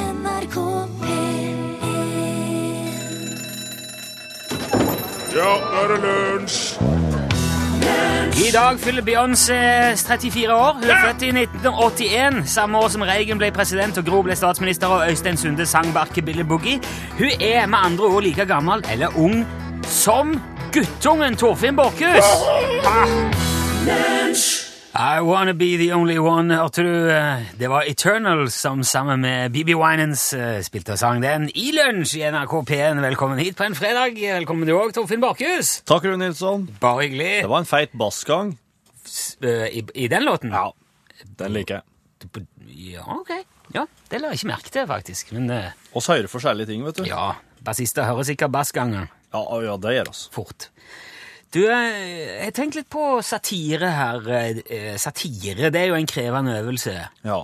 NRK P1 Ja, nå er det lunsj! I dag fyller Beyoncé 34 år. Hun er født i 1981, samme år som Reagan ble president og Gro ble statsminister og Øystein Sunde sang Barke Billy Boogie. Hun er med andre ord like gammel eller ung som guttungen Torfinn Borchhus. Ah! I Wanna Be The Only One, hørte du? eh, Det var Eternal som sammen med BB Winans eh, spilte og sang den i lunsj i NRK P1. Velkommen hit på en fredag. Velkommen du òg, Torfinn Borchhus. Takk, Rune Nilsson. Bare hyggelig. Det var en feit bassgang. Eh, I, I den låten? Ja. Den liker jeg. Ja, ok. Ja, det la jeg ikke merke til, faktisk. Men eh, Oss hører forskjellige ting, vet du. ja, bassister hører sikkert bassgangen ja, ja, det gjør oss. fort. Du, eh, jeg tenkte litt på satire her. eh, Satire, det er jo en krevende øvelse. Ja.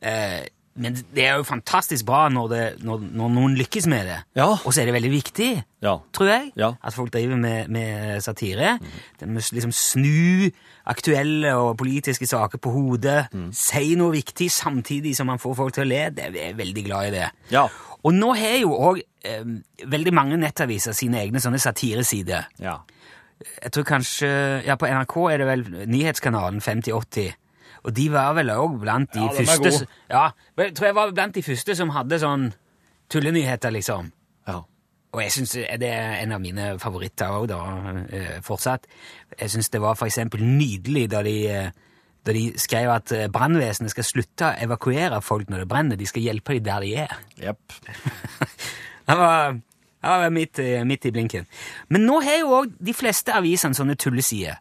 Eh, Men det er jo fantastisk bra når, det, når, når noen lykkes med det. Ja. Og så er det veldig viktig, Ja. tror jeg, Ja. Mhm. at folk driver med, med satire. De må liksom snu aktuelle og politiske saker på hodet, Mhm. si noe viktig samtidig som man får folk til å le. Det, jeg er veldig glad i det. Ja. Og nå har jo òg eh, veldig mange nettaviser sine egne sånne satiresider. Ja. Jeg tror kanskje Ja, på NRK er det vel nyhetskanalen 5080. Og de var vel òg blant de Ja, den er første god. s- Ja, men jeg tror jeg var blant de første som hadde sånn tullenyheter, liksom. Ja. Og jeg syns det er en av mine favoritter òg, da, eh, fortsatt. Jeg syns det var for eksempel nydelig da de eh, da de skrev at eh, brannvesenet skal slutte å evakuere folk når det brenner, de skal hjelpe dem der de er. Jepp. Han var, han var midt, i- midt i blinken. Men nå har jo òg de fleste avisene sånne tullesider.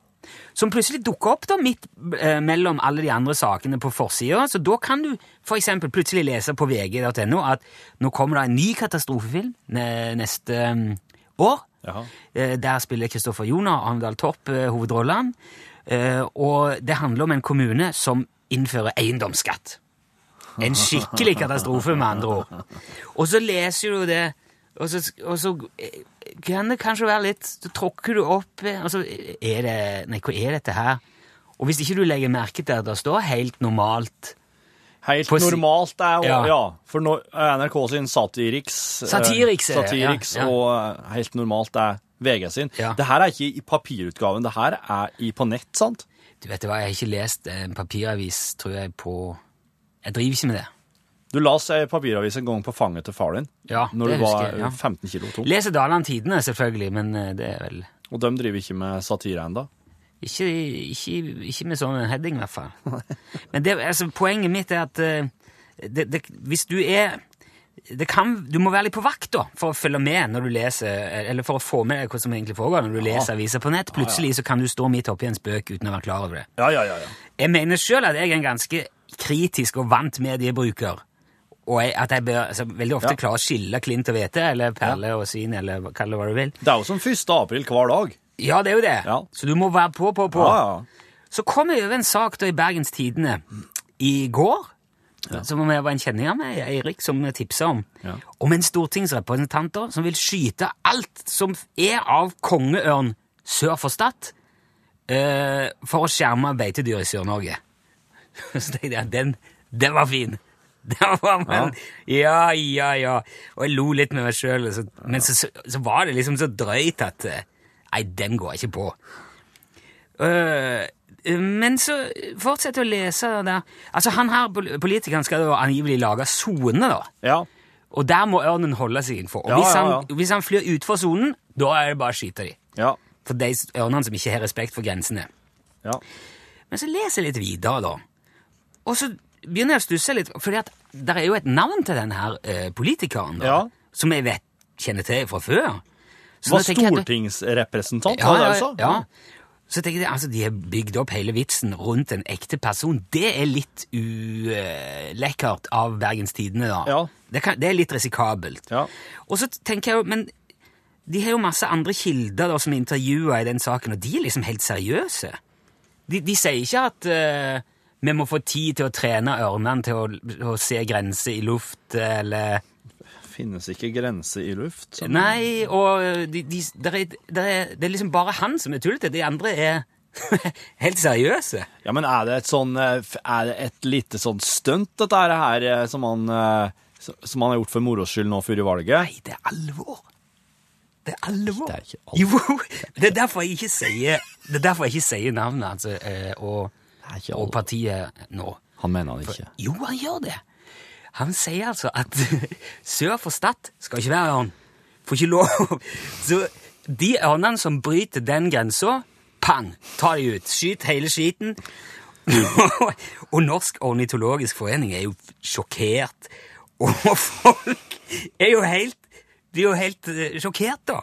Som plutselig dukker opp da midt eh, mellom alle de andre sakene på forsida. Så da kan du f.eks. plutselig lese på vg.no at nå kommer det en ny katastrofefilm ne- neste mm, år. Jaha. Eh, Der spiller Kristoffer Joner og Arendal Torp eh, hovedrollene. Eh, Og det handler om en kommune som innfører eiendomsskatt. En skikkelig katastrofe, med andre ord. Og så leser du det, og så, og så eh, kan det kanskje være litt Så tråkker du opp eh, Og så er det Nei, hva er dette her? Og hvis ikke du legger merke til at det står helt normalt Helt På si- normalt er jo Ja. Ja. For nå- eh, NRK sin Satiriks eh, Satiriks er det, ja, Satiriks ja. og eh, Helt normalt er VG sin. Ja. Det her er ikke i papirutgaven, det her er i, på nett, sant? Du vet hva, jeg har ikke lest en papiravis, tror jeg, på Jeg driver ikke med det. Du las ei papiravis en gang på fanget til far din Ja, når det du var husker jeg, ja. eh, 15 kilo tung. Leser Daland Tidene, selvfølgelig, men eh, det er vel Og de driver ikke med satire ennå. Ikke, ikke, ikke med sånn heading, i hvert fall. Men det, altså, poenget mitt er at eh, det, det, hvis du er det kan, Du må være litt på vakt da, for å følge med når du leser, eller for å få med deg hva som egentlig foregår når du leser aviser på nett. Plutselig så kan du stå midt oppi en spøk uten å være klar over det. Ja, ja, ja, ja. Jeg mener sjøl at jeg er en ganske kritisk og vant mediebruker. Og jeg, at jeg bør, altså, veldig ofte Ja. klarer å skille klint og hvete, eller perle og svin, eller hva- kall det hva du vil. Det er jo som 1. april hver dag. Ja, det er jo det. Ja. Så du må være på, på, på. Ja, ja. Så kom jeg over en sak da i Bergens Tidende i går, som om jeg var en kjenning av meg, Eirik, som tipsa om, Ja. om en stortingsrepresentant da, som vil skyte alt som er av kongeørn sør for Stad, eh, for å skjerme beitedyr i Sør-Norge. Så tenkte jeg, den, den var fin. Den var, men, ja. ja, ja, Og jeg lo litt med meg sjøl, men så, så, så var det liksom så drøyt at eh, Nei, den går jeg ikke på. Øh, men så fortsett å lese det der. Altså, han her, pol- politikeren skal jo angivelig lage sone, da. Ja. Og der må ørnen holde seg innenfor. Og Ja, hvis, ja, han, ja. hvis han flyr utfor sonen, da er det bare å skyte de. Ja. For de s- ørnene som ikke har respekt for grensene. ja. Men så leser jeg litt videre, da. Og så begynner jeg å stusse litt, for det er jo et navn til denne her eh, politikeren, da, Ja. som jeg vet kjenner til fra før. Så Var nå tenker jeg at- stortingsrepresentant, altså? Ja, var det ja, det du sa? ja. Så tenker jeg, altså, De har bygd opp hele vitsen rundt en ekte person. Det er litt ulekkert av Bergens Tidende, da. Ja. Det, kan, det er litt risikabelt. Ja. Og så tenker jeg jo, men de har jo masse andre kilder da, som er intervjua i den saken, og de er liksom helt seriøse. De, de sier ikke at eh, vi må få tid til å trene ørnene til å, å se grenser i luft, eller Finnes ikke grense i luft? sa han. eh, Nei, og de, de, der er, der er, det er liksom bare han som er tullete. De andre er Helt seriøse. Ja, men er det et sånn eh, f- Er det et lite sånn stunt, dette her, eh, som han eh, s- Som han har gjort for moro skyld nå før i valget? Nei, det er alvor. Det er alvor. Det er ikke Jo, det er derfor jeg ikke sier, det er derfor jeg ikke sier navnet altså, eh, og, Det er ikke og alvor. partiet nå. Han mener han ikke. Jo, han gjør det. Han sier altså at sør for Stad skal ikke være ørn. Får ikke lov. Så de ørnene som bryter den grensa, pang, ta de ut. Skyt hele skiten. og Norsk ornitologisk forening er jo sjokkert. Og folk er jo helt De er jo helt eh, sjokkert, da.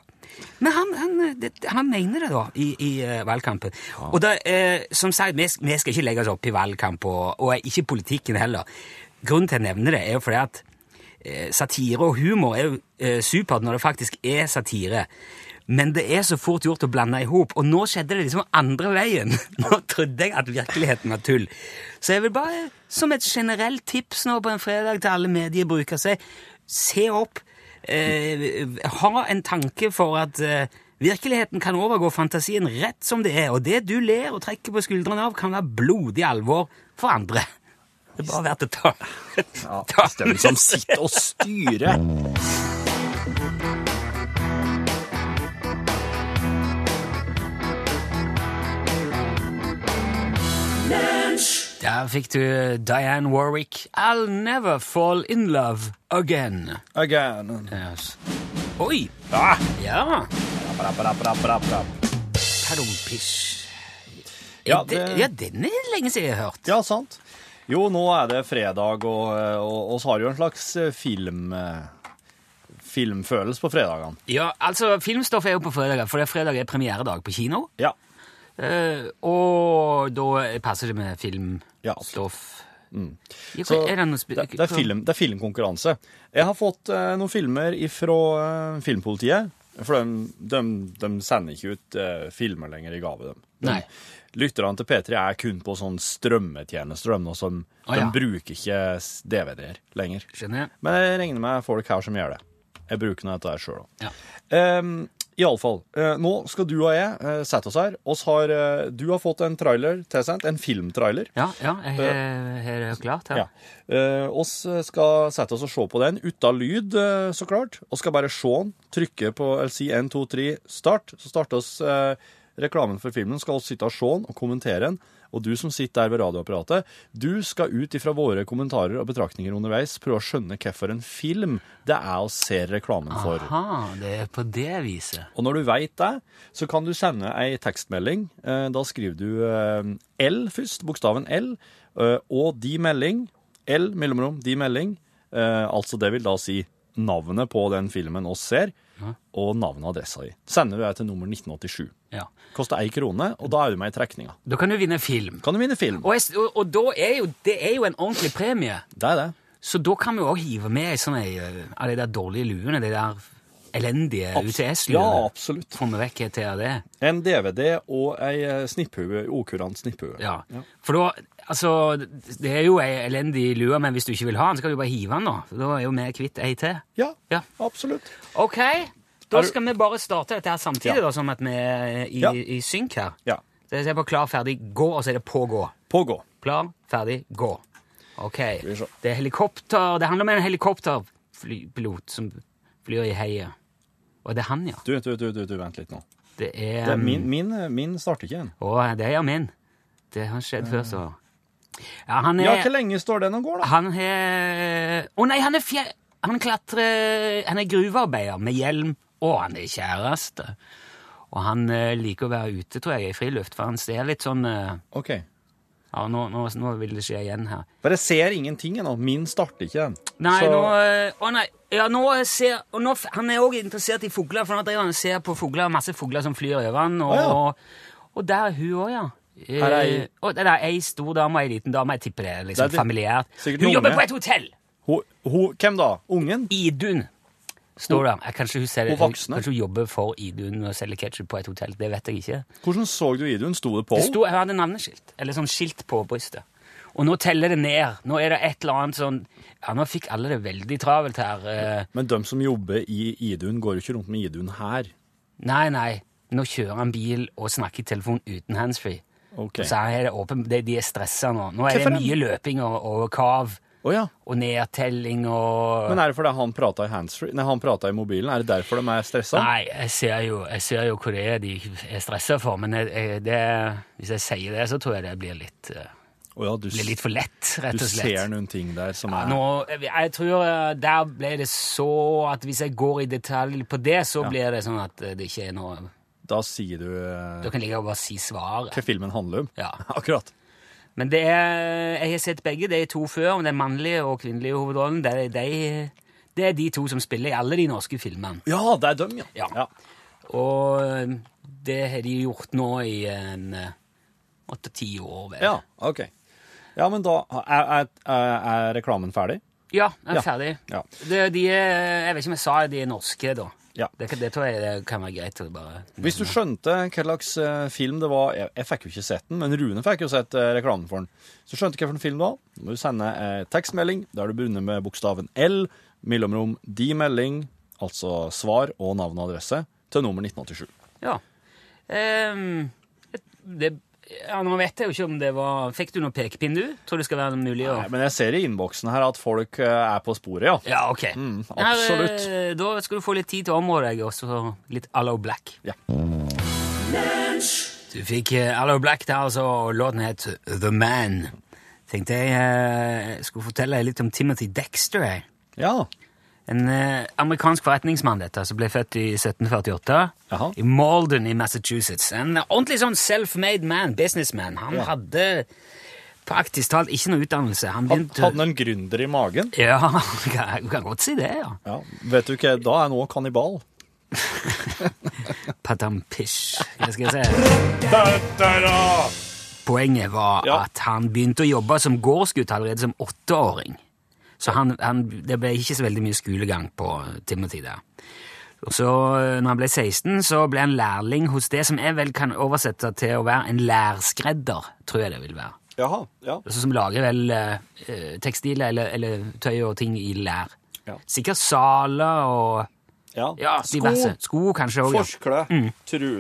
Men han, han, eh, det, han mener det, da, i, i eh, valgkampen. Og da, eh, som sagt, vi, sk- vi skal ikke legge oss opp i valgkamp, og, og ikke i politikken heller. Grunnen til å nevne det er jo fordi at eh, satire og humor er jo eh, supert når det faktisk er satire. Men det er så fort gjort å blande i hop, og nå skjedde det liksom andre veien. Nå trodde jeg at virkeligheten var tull. Så jeg vil bare, som et generelt tips nå på en fredag til alle mediebrukere, si se opp. Eh, ha en tanke for at eh, virkeligheten kan overgå fantasien rett som det er, og det du ler og trekker på skuldrene av, kan være blodig alvor for andre. Det er bare verdt å ta. ta Stemmen som sitter og styrer. Der fikk du Diane Warwick. I'll never fall in love again. Again. Yes. Oi! Ah. Ja! Rapp, rapp, rapp, rapp, rapp. Padumpisj. Ja, Ja, det- ja, den er lenge siden jeg har hørt. Ja, sant. Jo, nå er det fredag, og, eh, og og så har jo en slags eh, film... eh, Filmfølelse på fredagene. Ja, altså, Filmstoff er jo på fredager, for det er fredag er premieredag på kino. Ja. Eh, og da passer det med Ja, absolutt. filmstoff. Ja, Så hva- er det noe spe- det, det, er film, det er filmkonkurranse. Jeg har fått eh, noen filmer fra Filmpolitiet. For de, de, de sender ikke ut eh, filmer lenger i gave, dem. De, Nei. Lytterne til P3 er kun på sånn strømmetjenester, de, nå, så de, Å, de ja. bruker ikke s- DVD-er lenger. Skjønner jeg. Men jeg regner med folk her som gjør det. Jeg bruker nå dette her sjøl òg. Ja. Um, Iallfall. Uh, nå skal du og jeg eh, sette oss her. Oss har, eh, du har fått en trailer tilsendt, en filmtrailer. Ja, ja, jeg har- har det klart her. Ja. Eh, oss skal sette oss og se på den uten lyd, eh, så klart. Og skal bare se den, trykke på eller si 1, 2, 3, start. Så starter oss eh, reklamen for filmen. Skal oss sitte og se den og kommentere den. Og du som sitter der ved radioapparatet, du skal ut ifra våre kommentarer og betraktninger underveis prøve å skjønne hvorfor en film det er å se reklamen for. Aha, det er på det viset. Og når du veit det, så kan du sende ei tekstmelding. Eh, Da skriver du eh, L først, bokstaven L, eh, og de melding. L mellomrom, de melding. Eh, Altså det vil da si navnet på den filmen oss ser, og navnet og adressa di. Sender du deg til nummer 1987. Ja. Koster ei krone, og da er du med i trekninga. Da kan du vinne film. Kan du vinne film? Og, jeg, s- og, og da er jo, det er jo en ordentlig premie. Det er det. Så da kan vi jo også hive med ei sånn ei, eh, av de der dårlige luene, de der elendige Ja, UTS-luene. absolutt. Får vi vekk et til av det? En DVD og ei eh, snipphue, okurant snipphue. Ja. For da Altså, det er jo ei elendig lue, men hvis du ikke vil ha den, så kan du bare hive den, da. For da er jo vi kvitt ei til. Ja, Ja. absolutt. OK. Er Da du- skal vi bare starte dette her samtidig, Ja. da, sånn at vi er i, Ja. i synk her. Ja. Så jeg er bare klar, ferdig, gå, og så er det pågå. Pågå. Klar, ferdig, gå. Ok. vi se. Det er helikopter. Det handler om en helikopterpilot som flyr i heiet. Og det er han, ja. Du, du, du, du, du vent litt nå. Det er, Det er min, min, eh, min starter ikke igjen. Og det er min. Det har skjedd før, så Ja, han Ja, hvor er lenge står den og går, da? Han er Å nei, han er fjer... Han klatrer Han er gruvearbeider med hjelm, og han er kjæreste. Og han eh, liker å være ute, tror jeg, i friluft, for han ser litt sånn eh, Ok. Ja, nå, nå, nå vil det skje igjen her. Bare ser ingenting ennå. Min starter ikke den. Nei, Så- nå eh, Å nei. Ja, nå ser og nå, f- Han er òg interessert i fugler, for nå driver han og ser på fugler, masse fugler som flyr over han, og, Å, ja. og, og der er hun òg, ja. Eh, Her er ei- og det er ei stor dame og ei liten dame. Jeg tipper det er liksom Det er de- familiært. sikkert Hun noen jobber unge. på et hotell! Ho, ho, hvem da? Ungen? Idun står det. Eh, Kanskje hun, selger, Hun voksne. kanskje hun jobber for Idun og selger ketsjup på et hotell. Det vet jeg ikke. Hvordan så du Idun? Sto det på? Det sto, jeg hadde navneskilt, eller sånn skilt på brystet. Og nå teller det ned. Nå er det et eller annet sånn Ja, nå fikk alle det veldig travelt her. eh. Men de som jobber i Idun, går jo ikke rundt med Idun her. Nei, nei. enn å kjøre en bil og snakke i telefon uten handsfree. Ok. Så her er det åpen, de, de er stressa nå. Nå er det Hvorfor det? mye løping og, og kav Å ja. og nedtelling og Men er det fordi han prata i handsfree? Nei, han prata i mobilen. Er det derfor de er stressa? Nei, jeg ser, jo, jeg ser jo hva det er de er stressa for, men jeg, jeg, det, hvis jeg sier det, så tror jeg det blir litt, eh, Å ja, du, s- blir litt for lett, rett du og slett. ser noen ting der som er Nå, jeg, jeg tror eh, der ble det så at hvis jeg går i detalj på det, så blir det sånn at eh, det ikke er noe Da sier du eh, Da kan jeg like godt bare si svaret. hva filmen handler om. Ja. Akkurat. Men det er, jeg har sett begge, de to før, om den mannlige og kvinnelige hovedrollen. Det er, de, det er de to som spiller i alle de norske filmene. Ja, det er dem, ja. Ja. Og eh, det har de gjort nå i en eh, åtte-ti år, vel. Ja, ok. Ja, men da er, er, er er reklamen ferdig? Ja, jeg er Ja. ferdig. Ja. Det, de er, jeg vet ikke om jeg sa det, de er norske, da. Ja. Det, kan- det tror jeg det kan være greit å bare Hvis du skjønte hva slags eh, film det var Jeg, jeg fikk jo ikke sett den, men Rune fikk jo sett eh, reklamen for den. Så skjønte hva for en film det var, da må du sende eh, tekstmelding der du begynner med bokstaven L, mellomrom de melding, altså svar og navn og adresse, til nummer 1987. Ja. Ehm, det, ja, nå vet jeg jo ikke om det var Fikk du noen pekepinn, du? Tror det skal være mulig å Nei, men jeg ser i innboksen her at folk eh, er på sporet, ja. Ja, ok. Mm, absolutt. Her, eh, da skal du få litt tid til å område deg, og så litt Allo Black. Ja. Du fikk eh, Allo Black der, altså, og låten het The Man. Tenkte jeg eh, skulle fortelle deg litt om Timothy Dexter. jeg. Ja. En eh, amerikansk forretningsmann dette, som ble født i 1748 Jaha. i Malden i Massachusetts. En ordentlig sånn self-made man, businessman. Han Ja. hadde praktisk talt ikke noe utdannelse. Han Had- begynte... Hadde han en gründer i magen? Ja, du kan, du kan godt si det, ja. Ja. Vet du hva, da er han òg kannibal. Patampish. Hva skal jeg si? Poenget var Ja. at han begynte å jobbe som gårdsgutt allerede som åtteåring. Så han, han, det ble ikke så veldig mye skolegang på Timothy der. Og så eh, når han ble 16, så ble han lærling hos det som jeg vel kan oversette til å være en lærskredder, tror jeg det vil være. Jaha, ja. Altså som lager vel eh, eh, tekstiler eller, eller tøy og ting i lær. Ja. Sikkert saler og ja. ja, diverse. Sko kanskje òg. Ja. forskle, tru,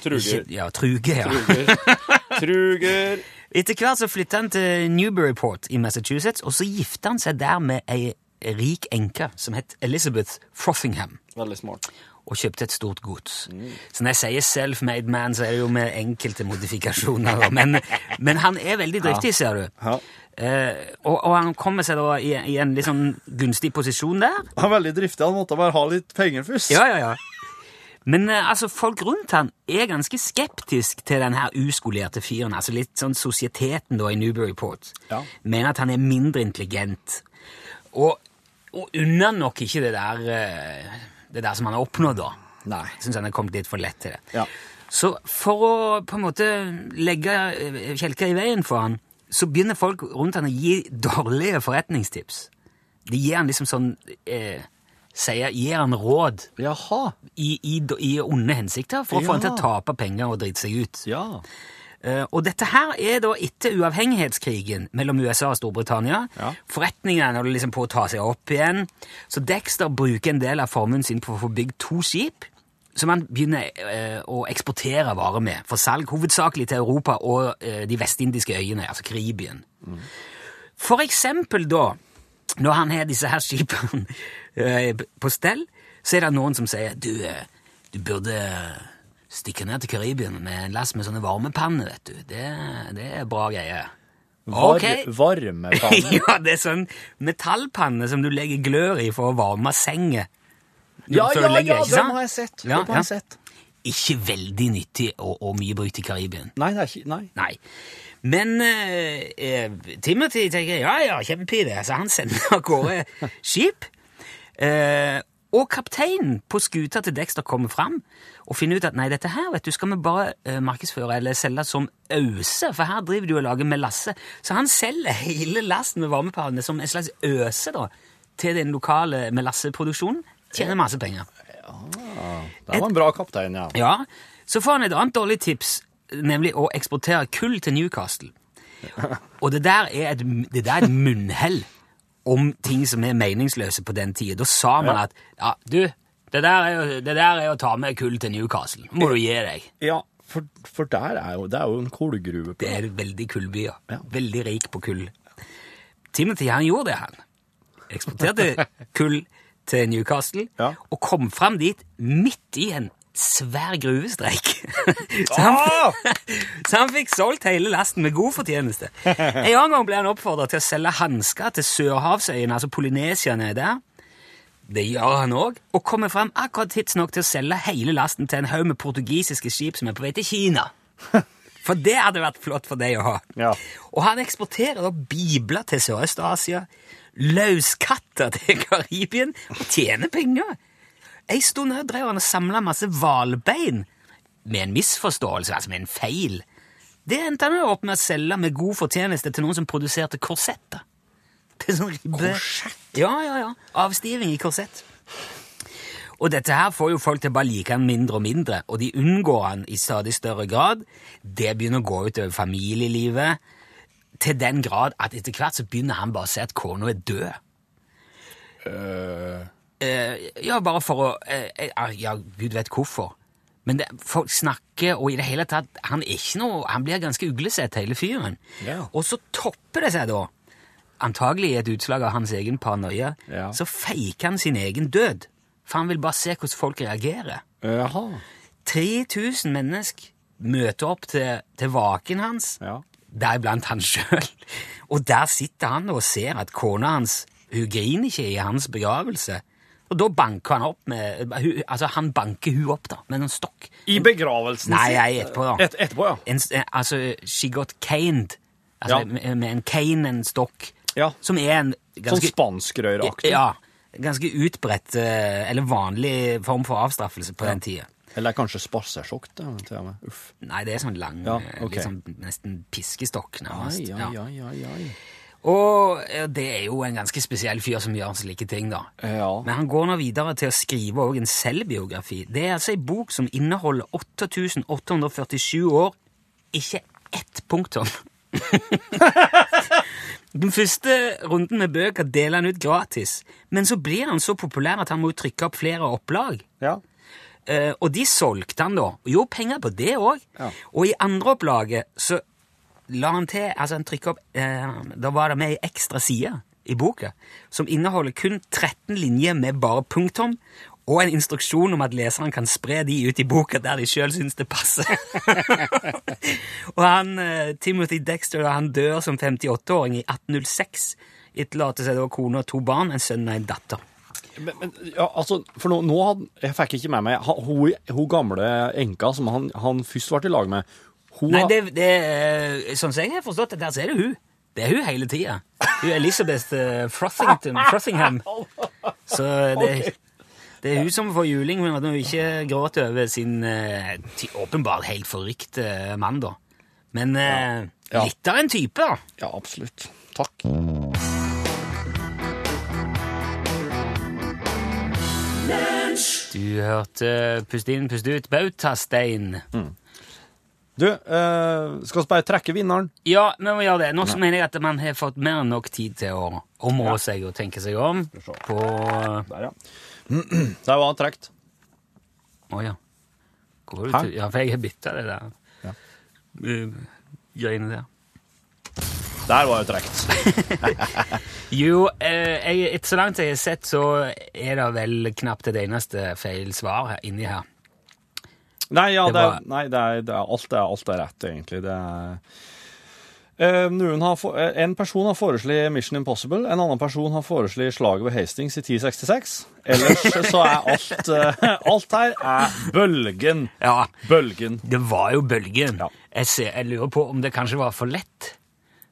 truger. Ikke- Ja, truge, ja. Truger. Etter hvert så flytta han til Newburyport i Massachusetts, og så gifta han seg der med ei rik enke som het Elizabeth Frothingham, Veldig smart. og kjøpte et stort gods. Mm. Så når jeg sier self-made man, så er det jo med enkelte modifikasjoner, da. men, men han er veldig driftig, ser du. Ja. Eh, og, og han kommer seg da i, i en litt sånn gunstig posisjon der. Han er veldig driftig. Han måtte bare ha litt penger først. Ja, ja, ja. Men eh, altså, folk rundt han er ganske skeptisk til den her uskolerte fyren, altså litt sånn sosieteten da i Newburyport. Ja. Mener at han er mindre intelligent. Og, og unner nok ikke det der, eh, det der som han har oppnådd da. Nei. Jeg synes han er kommet litt for lett til det. Ja. Så for å på en måte legge eh, kjelker i veien for han, så begynner folk rundt han å gi dårlige forretningstips. De gir han liksom sånn, eh, sier, gir han råd Jaha. i, i, i onde hensikter for å få Ja. han til å tape penger og drite seg ut. Ja. Eh, og dette her er da etter uavhengighetskrigen mellom USA og Storbritannia. Ja. Forretningene holder liksom på å ta seg opp igjen. Så Dexter bruker en del av formuen sin på å få bygd to skip som han begynner eh, å eksportere varer med for salg, hovedsakelig til Europa og eh, de vestindiske øyene, altså Karibien. For eksempel da, når han har disse her skipene eh, på stell, så er det noen som sier du, eh, du burde stikke ned til Karibien med en lass med sånne varmepanner, vet du. Det, det er bra greier. Var Ok. Varmepanne. ja, det er sånn metallpanne som du legger glør i for å varme senga. Ja, Før du ja, legger, ja, ikke den sant? har jeg sett. Ja, den har ja. jeg sett. Ikke veldig nyttig og, og mye brukt i Karibien. Nei, det er ikke Nei. Nei. Men eh, eh, Timothy tenker ja, ja, kjempeidé, så han sender av gårde skip. Eh, og kapteinen på skuta til Dexter kommer fram og finner ut at nei, dette her vet du, skal vi bare eh, markedsføre eller selge som øse, for her driver du og lager med lasse. Så han selger hele lasten med varmepannene som en slags øse da, til den lokale melasseproduksjonen. Tjener masse penger. Det var en bra kaptein, ja. Ja, så får han et annet dårlig tips, nemlig å eksportere kull til Newcastle. Og det der er et, det der er et munnhell om ting som er meningsløse på den tida. Da sa man Ja. at ja, du, Det der er jo, det der er jo å ta med kull til Newcastle. Må du gi deg. Ja, for, for der er jo, det er jo en kullgruve. på Det det. er veldig kullby, ja. Ja. Veldig rik på kull. Timothy han gjorde det, han. Eksporterte kull til Newcastle Ja. og kom fram dit midt i en svær gruvestreik. så, Ah! han, så han fikk solgt hele lasten med god fortjeneste. En annen gang ble han oppfordra til å selge hansker til Sørhavsøyene, altså Polynesia nede der. Det gjør han òg, og kommer fram akkurat tidsnok til å selge hele lasten til en haug med portugisiske skip som er på vei til Kina. For det hadde vært flott for deg å ha. Ja. Og han eksporterer da bibler til Sørøst-Asia, løskatter til Karibien, og tjener penger. Ei stund her drev han og samla masse hvalbein, med en misforståelse, altså med en feil. Det endte han jo opp med å selge med god fortjeneste til noen som produserte korsetter. Til sånn ribbe... Korsett? Ja, ja, ja. Avstiving i korsett. Og dette her får jo folk til å bare like han mindre og mindre, og de unngår han i stadig større grad. Det begynner å gå utover familielivet, til den grad at etter hvert så begynner han bare å se at kona er død. Eh, ja, bare for å eh, eh, Ja, gud vet hvorfor. Men det, folk snakker, og i det hele tatt Han er ikke noe, han blir ganske uglesett, hele fyren. Ja. Og så topper det seg, da, antagelig i et utslag av hans egen paranoia, Ja. så faker han sin egen død. For han vil bare se hvordan folk reagerer. Jaha. 3000 mennesker møter opp til, til vaken hans, Ja. deriblant han sjøl. Og der sitter han og ser at kona hans hun griner ikke i hans begravelse. Og da banker han opp med hun, Altså, han banker hun opp da, med en stokk. I begravelsen Nei, sin? nei, etterpå, da. Et, etterpå, ja. En, s- eh, altså, she got caned. Altså, Ja. med, med en cane, en stokk, Ja. som er en Sånn ganske spanskrøyraktig. Ja, ganske utbredt, eh, eller vanlig form for avstraffelse på den tida. Eller kanskje sparsersjokk, da, til og med. Uff. Nei, det er sånn lang, Ja, eh, ok. liksom, nesten piskestokk, nærmest. Ai, Ja. ai, ai, ai, ai. Og eh, det er jo en ganske spesiell fyr som gjør slike ting, da. Ja. Men han går nå videre til å skrive også en selvbiografi. Det er altså ei bok som inneholder 8847 år, ikke ett punktum. Den første runden med bøker deler han ut gratis, men så blir han så populær at han må trykke opp flere opplag. ja. Eh, og de solgte han da. Og gjorde penger på det òg. Ja. Og i andreopplaget så la han til Altså, han trykket opp eh, Da var det med ei ekstra side i boka som inneholder kun 13 linjer med bare punktum. Og en instruksjon om at leseren kan spre de ut i boka der de sjøl syns det passer. og han, eh, Timothy Dexter han dør som 58-åring i 1806. Etterlater seg da kone og to barn, en sønn og en datter. Men, men ja, altså, for nå, nå hadde, jeg fikk ikke med meg han- Hun, hun gamle enka som han, han først var i lag med hun, Nei, har- det, det, er- sånn som jeg har forstått det, der så er det hun. Det er hun hele tida. Hun er Elizabeth eh, Frothington, Frothingham. Så det, det er hun som får juling men at hun ikke gråter over sin eh, ti- åpenbart helt forrykte eh, mann, da. Men eh, Ja. litt av en type, da. Ja, absolutt. Takk. Du hørte eh, Pust inn, pust ut, bautastein. Du, eh, skal vi bare trekke vinneren? Ja, vi må gjøre det. Nå så mener jeg at man har fått mer enn nok tid til å områ seg og tenke seg om på eh, Der, ja. Der var han trukket. Å ja. Går du Hæ? til Ja, for jeg har bytta det der Ja. Eh, greiene der. Der var det trukket. Jo, eh, jeg, etter så langt jeg har sett, så er det vel knapt et eneste feil svar her, inni her. Nei, ja, Det det, er- var- nei, det er, det er, alt, er, alt er rett, egentlig. Det er Eh, noen har, for- eh, en person har foreslått Mission Impossible, en annen person har foreslått slaget ved Hastings i 1066. Ellers så er alt eh, Alt her er bølgen. Ja, Bølgen. det var jo bølgen. Ja. Jeg, ser, jeg lurer på om det kanskje var for lett.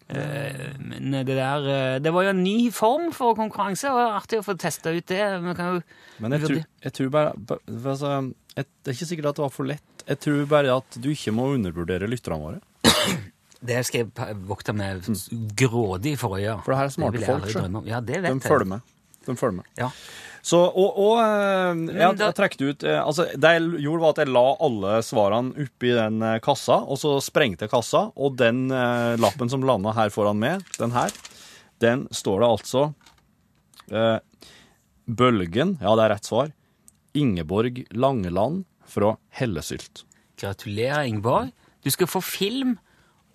Eh, men det der eh, Det var jo en ny form for konkurranse, og det var artig å få testa ut det. Man kan jo Men jeg tror, jeg tror bare ba- altså, jeg, Det er ikke sikkert at det var for lett. Jeg tror bare at du ikke må undervurdere lytterne våre. Det skal jeg pa- vokte meg grådig for å gjøre. Mm. For det her er smarte vil jeg aldri folk, sjø. drømme om. Ja, det vet De jeg. følger med. De følger med. Ja. Så, og, og eh, jeg, da- jeg trekte ut eh, altså, Det jeg gjorde, var at jeg la alle svarene oppi den eh, kassa, og så sprengte jeg kassa, og den eh, lappen som landa her foran meg, den her, den står det altså eh, Bølgen, ja, det er rett svar. Ingeborg Langeland fra Hellesylt. Gratulerer, Ingeborg. Du skal få film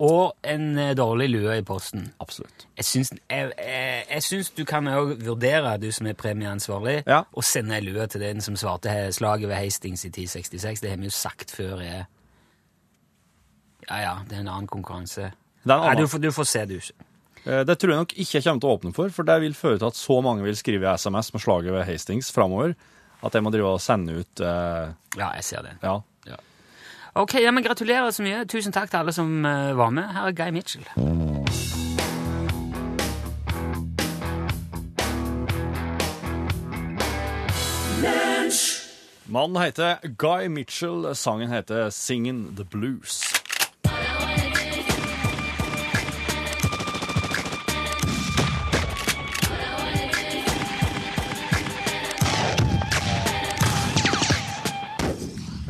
og en eh, dårlig lue i posten. Absolutt. Jeg syns, jeg, jeg, jeg syns du kan også vurdere, du som er premieansvarlig, Ja. å sende ei lue til den som svarte he- slaget ved Hastings i 1066. Det har vi jo sagt før er Ja ja, det er en annen konkurranse. Det, er en Nei, annen. du, får- du får se, du. Eh, det tror jeg nok ikke jeg kommer til å åpne for, for det vil føre til at så mange vil skrive SMS med slaget ved Hastings framover, at jeg må drive og sende ut eh, Ja, jeg ser den. Ja. Ok, ja, men Gratulerer så mye. Tusen takk til alle som eh, var med. Her er Guy Mitchell. Mannen heter Guy Mitchell, sangen heter Singin' the Blues.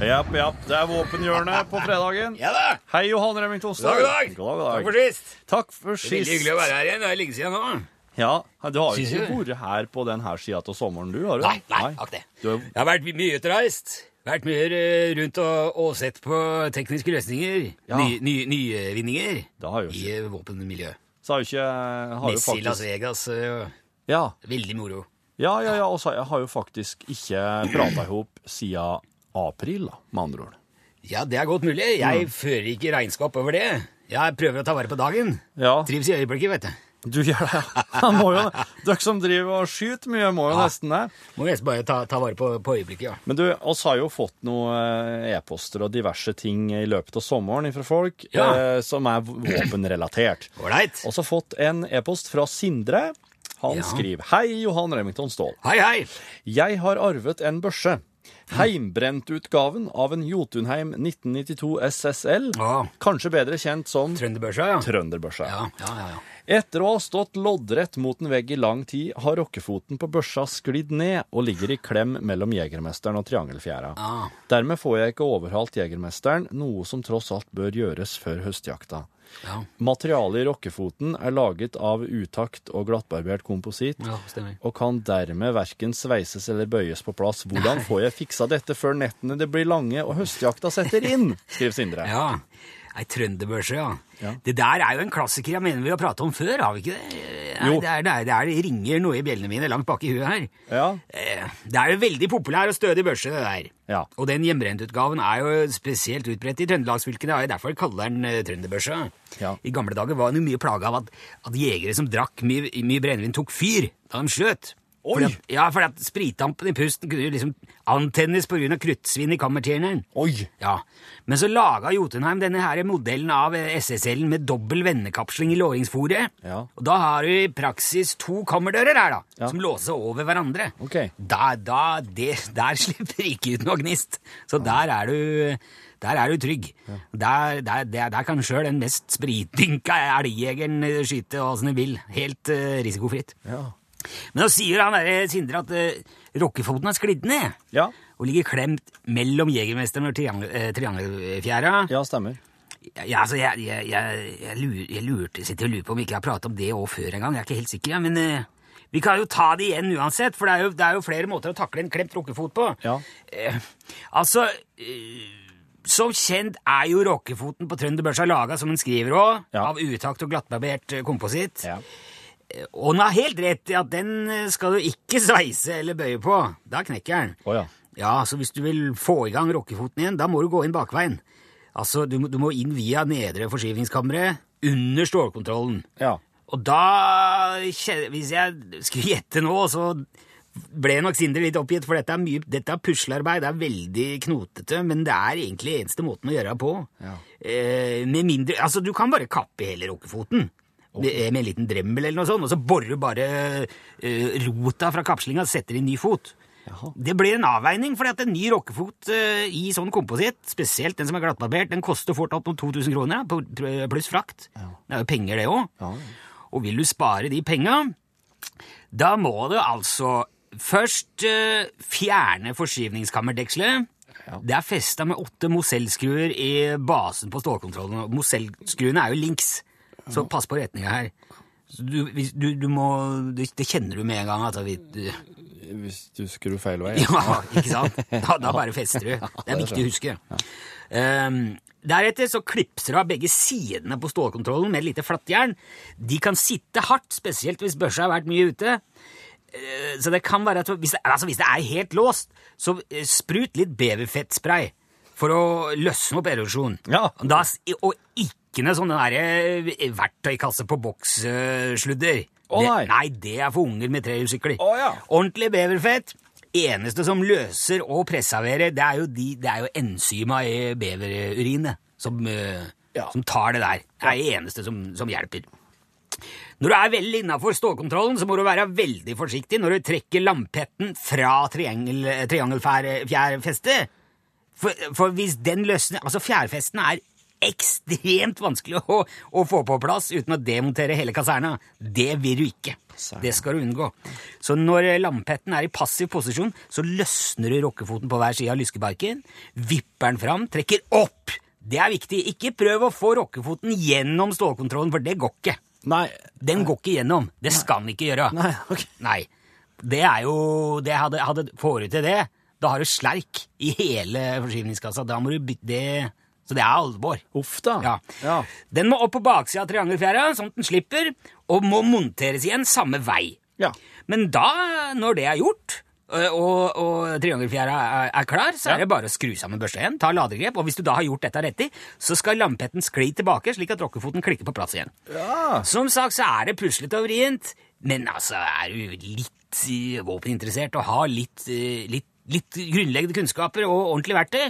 Japp, japp, det er våpenhjørnet på fredagen. Ja da! Hei, Johan Remington Stad. God dag, god dag. sist. Takk for sist. være her igjen. Det er lenge siden nå. Ja, du har jo Synes ikke du? vært her på denne sida av sommeren, du? har du? Nei, nei, takk det. Du er- Jeg har vært mye utreist. Vært mye eh, rundt og, og sett på tekniske løsninger. Ja. Ny, ny, nyvinninger Det har jo i ikke eh, våpenmiljø. Så har jo ikke har jo Messi i Las faktisk, Vegas. eh, Ja, Veldig moro. Ja, ja, ja, og så har jeg har jo faktisk ikke prata i hop siden april, da, med andre ord. Ja, det er godt mulig. Mm. Jeg fører ikke regnskap over det. Jeg prøver å ta vare på dagen. Ja, Trives i øyeblikket, vet du. du gjør det. ja. Må jo, dere som driver og skyter mye, må jo nesten det. Må nesten bare ta, ta vare på, på øyeblikket, ja. Men du, oss har jo fått noen eh, e-poster og diverse ting i løpet av sommeren fra folk Ja. eh, som er våpenrelatert. Ålreit. Også fått en e-post fra Sindre. Han Ja. skriver Hei, Johan Remington Ståhl. Hei, hei. Jeg har arvet en børse. Heimbrentutgaven av en Jotunheim 1992 SSL, Ja. kanskje bedre kjent som Trønderbørsa, ja. trønderbørsa. Ja, ja, ja. ja. Etter å ha stått loddrett mot en vegg i lang tid, har rockefoten på børsa sklidd ned og ligger i klem mellom Jegermesteren og Triangelfjæra. Ah. Dermed får jeg ikke overhalt Jegermesteren, noe som tross alt bør gjøres før høstjakta. ja. Materialet i rockefoten er laget av utakt og glattbarbert kompositt, Ja, stemmer. og kan dermed verken sveises eller bøyes på plass. Hvordan får jeg fiksa dette før nettene det blir lange og høstjakta setter inn? skriver Sindre. Ja. Ei trønderbørse, ja. Ja. Det der er jo en klassiker jeg mener vi har pratet om før, har vi ikke det? Nei, Jo. Det, er, det, er, det, er, det ringer noe i bjellene mine langt bak i huet her. Ja. Eh, Det er jo veldig populær og stødig børse, det der. Ja. Og den hjemmebrentutgaven er jo spesielt utbredt i trøndelagsfylkene, og derfor kaller den eh, trønderbørsa. Ja. I gamle dager var den jo mye plaga av at, at jegere som drakk mye, mye brennevin, tok fyr da de skjøt. Oi! Fordi at, ja, fordi at spritdampen i pusten kunne jo liksom antennes på grunn av kruttsvinn i kammertjeneren. Oi! Ja, men så laga Jotunheim denne her modellen av eh, SSL-en med dobbel vendekapsling i låringsforet. Ja. Og da har du i praksis to kammerdører her, da, Ja. som låser over hverandre. Ok. Da, da, det, der slipper det ikke ut noe gnist. Så der er du, der er du trygg. Der, der, der, der kan sjøl den mest spritdynka elgjegeren eh, skyte hva som den vil. Helt eh, risikofritt. Ja. Men nå sier han der, Sindre at uh, rockefoten har sklidd ned. Ja. Og ligger klemt mellom Jegermesteren og triangel, eh, Triangelfjæra. Ja, stemmer. Ja, altså, jeg, jeg, jeg, jeg, lurer, jeg lurte, sitter og lurer på om vi ikke har pratet om det òg før en gang. Jeg er ikke helt sikker, ja, men eh, vi kan jo ta det igjen uansett, for det er jo, det er jo flere måter å takle en klemt rockefot på. Ja. Eh, altså, eh, som kjent er jo rockefoten på trønderbørsa laga, som den skriver òg, Ja. av utakt og glattbarbert eh, kompositt. Ja. Og hun har helt rett i at den eh, skal du ikke sveise eller bøye på. Da knekker den. Å ja. Ja, så hvis du vil få i gang rockefoten igjen, da må du gå inn bakveien. Altså, du må, du må inn via nedre forskyvningskammeret, under stålkontrollen. Ja. Og da, kje- hvis jeg skulle gjette nå, så ble nok Sindre litt oppgitt, for dette er, mye, dette er puslearbeid, det er veldig knotete, men det er egentlig eneste måten å gjøre det på. Ja. Eh, med mindre, altså du kan bare kappe hele rockefoten. Med, med en liten dremmel eller noe sånt, og så borer du bare eh, rota fra kapslinga og setter inn ny fot. Jaha. Det blir en avveining, fordi at en ny rockefot eh, i sånn kompositt, spesielt den som er glattbarbert, den koster fort opp mot 2000 kroner, på- pluss frakt. Det er jo penger det også. Ja. Og vil du spare de penga, da må du altså først eh, fjerne forskyvningskammerdekselet. Ja. Det er festa med åtte Mosell-skruer i basen på stålkontrollen. og Mosell-skruene er jo links, så pass på retninga her. Så Du, hvis, du, du må, det, det kjenner du med en gang. At altså, vi, du, hvis du skrur feil vei. Ja, ikke sant? Da, da bare fester du. Det er viktig å huske. Ehm, deretter så klipser du av begge sidene på stålkontrollen med et lite flattjern. De kan sitte hardt, spesielt hvis børsa har vært mye ute. Eh, Så det kan være at hvis det, altså hvis det er helt låst, så eh, sprut litt beverfettspray for å løsne opp erosjon. Ja. Da, s- og ikke noe sånn den derre eh, verktøykasse på boks-sludder. Å, nei. Nei, det er for unger med trehjulssykler. Å, ja. Ordentlig beverfett. Eneste som løser og preserverer, det er jo, de, det er jo enzyma i beverurinet som, eh, Ja. som tar det der. Det er det eneste som, som hjelper. Når du er vel innafor stålkontrollen, så må du være veldig forsiktig når du trekker lampetten fra triangel, triangelfjærfestet. For, for hvis den løsner Altså, fjærfesten er ekstremt vanskelig å, å få på plass uten å demontere hele kaserna. Det vil du ikke. Det skal du unngå. Så når lampetten er i passiv posisjon, så løsner du rockefoten på hver side av lyskebarken, vipper den fram, trekker opp. Det er viktig. Ikke prøv å få rockefoten gjennom stålkontrollen, for det går ikke. Nei. Den går ikke gjennom. Det skal den ikke gjøre. Nei, ok. Nei. Det er jo det hadde, hadde Får du til det, da har du slerk i hele forsyningskassa. Da må du bytte det Så det er alvor. Uff da. Ja. Den må opp på baksida av triangelfjæra, sånn at den slipper, og må monteres igjen samme vei. Ja. Men da, når det er gjort, ø, og, og triangelfjæra er, er klar, så Ja. er det bare å skru sammen børsa igjen, ta ladegrep, og hvis du da har gjort dette riktig, så skal lampetten skli tilbake, slik at rockefoten klikker på plass igjen. Ja. Som sagt så er det puslete og vrient, men altså er du litt eh, våpeninteressert og har litt, eh, litt, litt grunnleggende kunnskaper og ordentlig verktøy,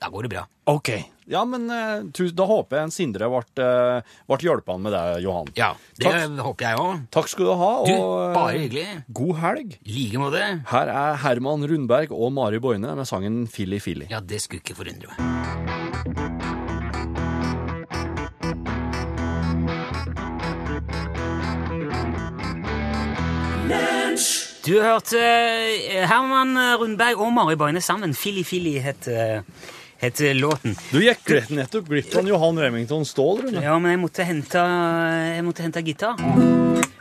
da går det bra. Ok. Ja, men eh, tu- da håper jeg en Sindre ble, eh, ble hjulpet med deg, Johan. Det Takk, håper jeg òg. takk skal du ha, og Du, eh, bare hyggelig. god helg. I like måte. Her er Herman Rundberg og Mari Boine med sangen Filly Filly. Ja, det skulle ikke forundre meg. Du hørte eh, Herman Rundberg og Mari Boine sammen. Filly Filly het, eh, het låten. Du gikk rett- nettopp glipp av en Johan Remington Ståhl, Rune. Ja, men jeg måtte hente, jeg måtte hente gitar.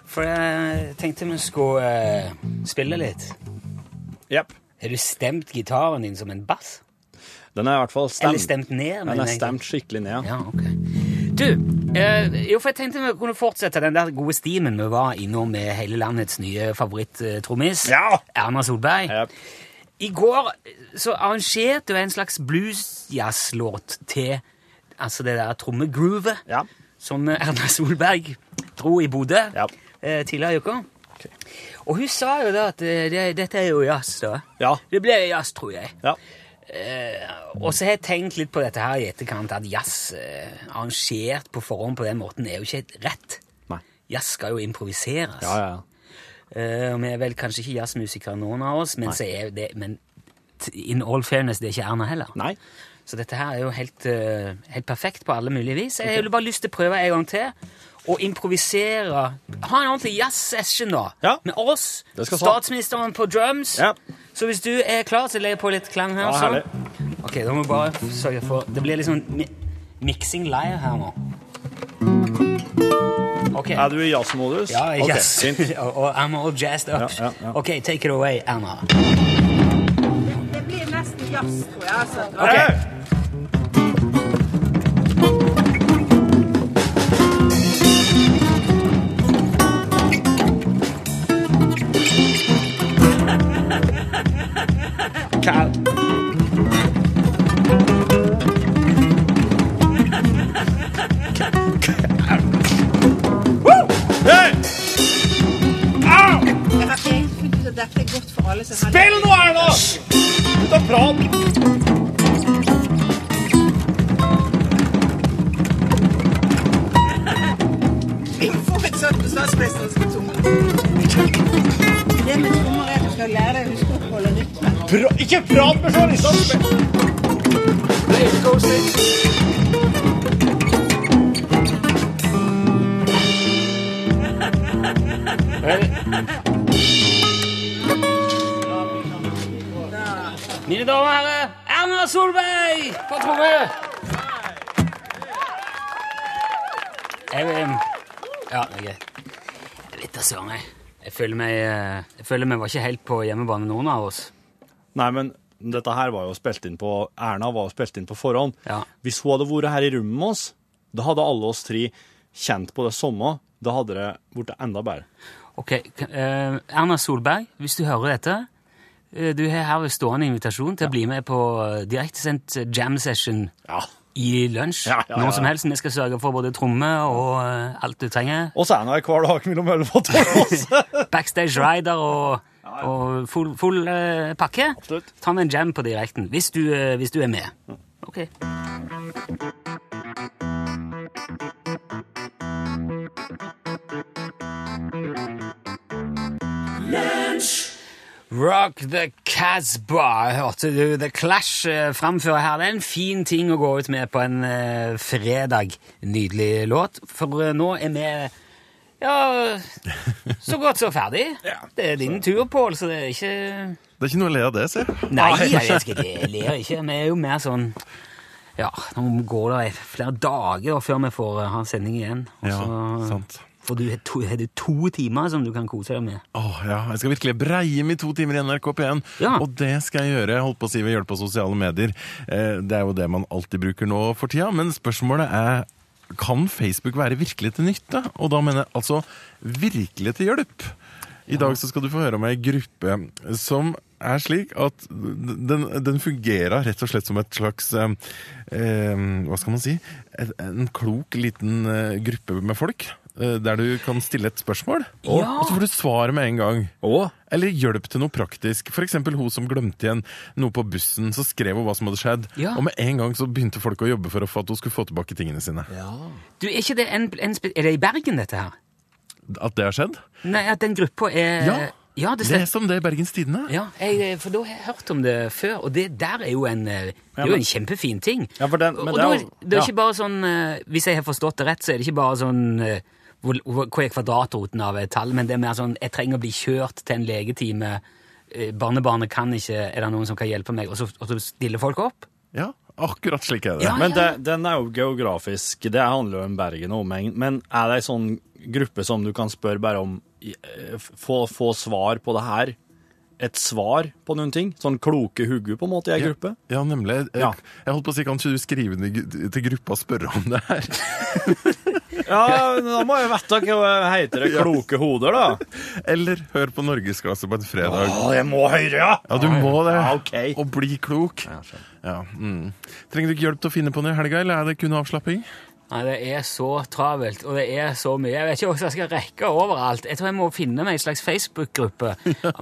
For jeg tenkte vi skulle eh, spille litt. Jepp. Har du stemt gitaren din som en bass? Den er i hvert fall Eller stemt. stemt ned? Den mener er jeg. stemt skikkelig ned. ja. Ja, ok. Du, eh, jo, for jeg tenkte vi kunne fortsette den der gode stimen vi var innom med hele landets nye favoritt-trommis, Ja! Erna Solberg. Jepp. I går eh, så arrangerte jeg en slags blues-jazz-låt til altså det der trommegroovet Ja. som eh, Erna Solberg dro i Bodø Ja. eh, tidligere i uka. Og hun sa jo da at eh, det, dette er jo jazz, da. Ja. Det ble jazz, tror jeg. Ja. Og så har jeg tenkt litt på dette her i etterkant, at jazz eh, arrangert på forhånd på den måten er jo ikke rett. Nei. Jazz skal jo improviseres. Ja, ja. Eh, og vi er vel kanskje ikke jazzmusikere, noen av oss, men, så er det, men t- in all fairness, det er ikke Erna heller. Nei. Så dette her er jo helt, eh, helt perfekt på alle mulige vis. Jeg har jo bare lyst til å prøve en gang til. Og improvisere. Ha en ordentlig jazz-session da. Ja. Med oss, Det skal sånn. statsministeren på drums. Ja. Så hvis du er klar, så legger jeg på litt klang her. Ja, sånn. herlig. Ok, da må vi bare sørge for Det blir liksom mi mixing live her nå. Ok. Er du i jazzmodus? Ja, Ok, yes. fint. og, og I'm all jazzed up. Ja, ja, ja. Ok, take it away, Erna. Det blir nesten jazz, tror jeg. Altså. Ok. Hey! Cal. Hey! Jeg synes at dette er godt for alle som har Spill nå, Erna! Slutt å prate! Vi får et søtt statsminister som skal tunge. Det med trommer er at du skal lære deg å huske å holde rytmen. Pra ikke prat med journalistene! Mine damer og herrer, Erna Solberg på tromme! Jeg vil Ja, det er greit. Jeg vet da søren, jeg. Jeg Jeg føler meg, eh, jeg føler meg var ikke helt på hjemmebane, noen av oss. Nei, men dette her var jo spilt inn på Erna var jo spilt inn på forhånd. Ja. Hvis hun hadde vært her i rommet med oss, da hadde alle oss tre kjent på det samme. Da hadde det blitt enda bedre. Ok, k- eh, Erna Solberg, hvis du hører dette, eh, du har her stående invitasjon til å bli med på eh, direktesendt jam session Ja. i lunsj. Ja, ja, ja. Når som helst, vi skal sørge for både tromme og eh, alt du trenger. Oss er nå her hver dag mellom elleve og tolv. altså. Backstage rider og, og full, full eh, pakke. Absolutt. Ta med en jam på direkten, hvis du, eh, hvis du er med. Ok. Rock the Casbah, hørte du The Clash eh, framføre her. Det er en fin ting å gå ut med på en eh, fredag. Nydelig låt. For eh, nå er vi ja, så godt som ferdig. Det er din tur, Pål, så det er ikke Det er ikke noe å le av det, si. Nei, jeg vet ikke, det ler jeg ikke. Vi er jo mer sånn Ja, nå går det flere dager da, før vi får eh, ha sending igjen. Og Ja, så- sant. For du har to, har du to timer som du kan kose deg med. Åh, ja, Jeg skal virkelig breie meg i to timer i NRK P1. Ja. Og det skal jeg gjøre holdt på å si ved hjelp av sosiale medier. Eh, Det er jo det man alltid bruker nå for tida. Men spørsmålet er kan Facebook være virkelig til nytte? Og da mener jeg altså virkelig til hjelp. I dag så skal du få høre om ei gruppe som er slik at den, den fungerer rett og slett som et slags eh, eh, Hva skal man si? En, en klok liten eh, gruppe med folk. eh, Der du kan stille et spørsmål, og, Ja. og så får du svar med en gang. Å. Eller hjelp til noe praktisk. For eksempel hun som glemte igjen noe på bussen, så skrev hun hva som hadde skjedd. Ja. Og med en gang så begynte folk å jobbe for å få at hun skulle få tilbake tingene sine. Du, Er ikke det en, en spe- Er det i Bergen, dette her? At det har skjedd? Nei, at den gruppa er Ja. ja det stemmer. Les om det i Bergens Tidende. Ja, jeg, eh, for da har jeg hørt om det før, og det der er jo en, eh, det er jo en kjempefin ting. Ja, for den- men og det da, er- er jo- det er ja. ikke bare sånn, eh, hvis jeg har forstått det rett, så er det ikke bare sånn eh, hvor, hvor hvor er kvadratroten av et tall, men det er mer sånn, jeg trenger å bli kjørt til en legetime, eh, barnebarnet kan ikke, er det noen som kan hjelpe meg, og så, og så stiller folk opp? Ja, akkurat slik er det. Ja. Men det, den er jo geografisk. Det handler jo om Bergen og omegn. Men er det ei sånn gruppe som du kan spørre bare om i- eh, Få, få svar på det her? Et svar på noen ting? Sånn kloke hugge, på en måte, i ei gruppe? Ja, nemlig. Jeg, Ja. jeg holdt på å si, kan ikke du skrive det i- til gruppa og spørre om det her? Ja, da må jeg vite hva heter det kloke hoder, da. Eller hør på Norgesklasse på en fredag. Å, jeg må høre, ja! Ja, du må det. Ja, ok. Og bli klok. Ja, mm. Trenger du ikke hjelp til å finne på noe i helga, eller er det kun avslapping? Nei, det er så travelt, og det er så mye. Jeg vet ikke hvordan jeg skal rekke overalt. Jeg tror jeg må finne meg en slags Facebook-gruppe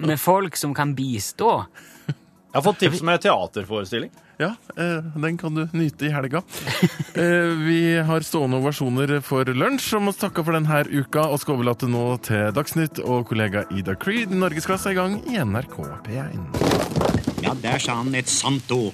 med folk som kan bistå. Jeg har fått tips om ei teaterforestilling. Ja, eh, den kan du nyte i helga. Eh, vi har stående ovasjoner for lunsj, og må takke for denne uka, og skal overlate nå til Dagsnytt og kollega Ida Creed. Norgesklasse er i gang i NRK P1. Ja, der sa han et sant ord.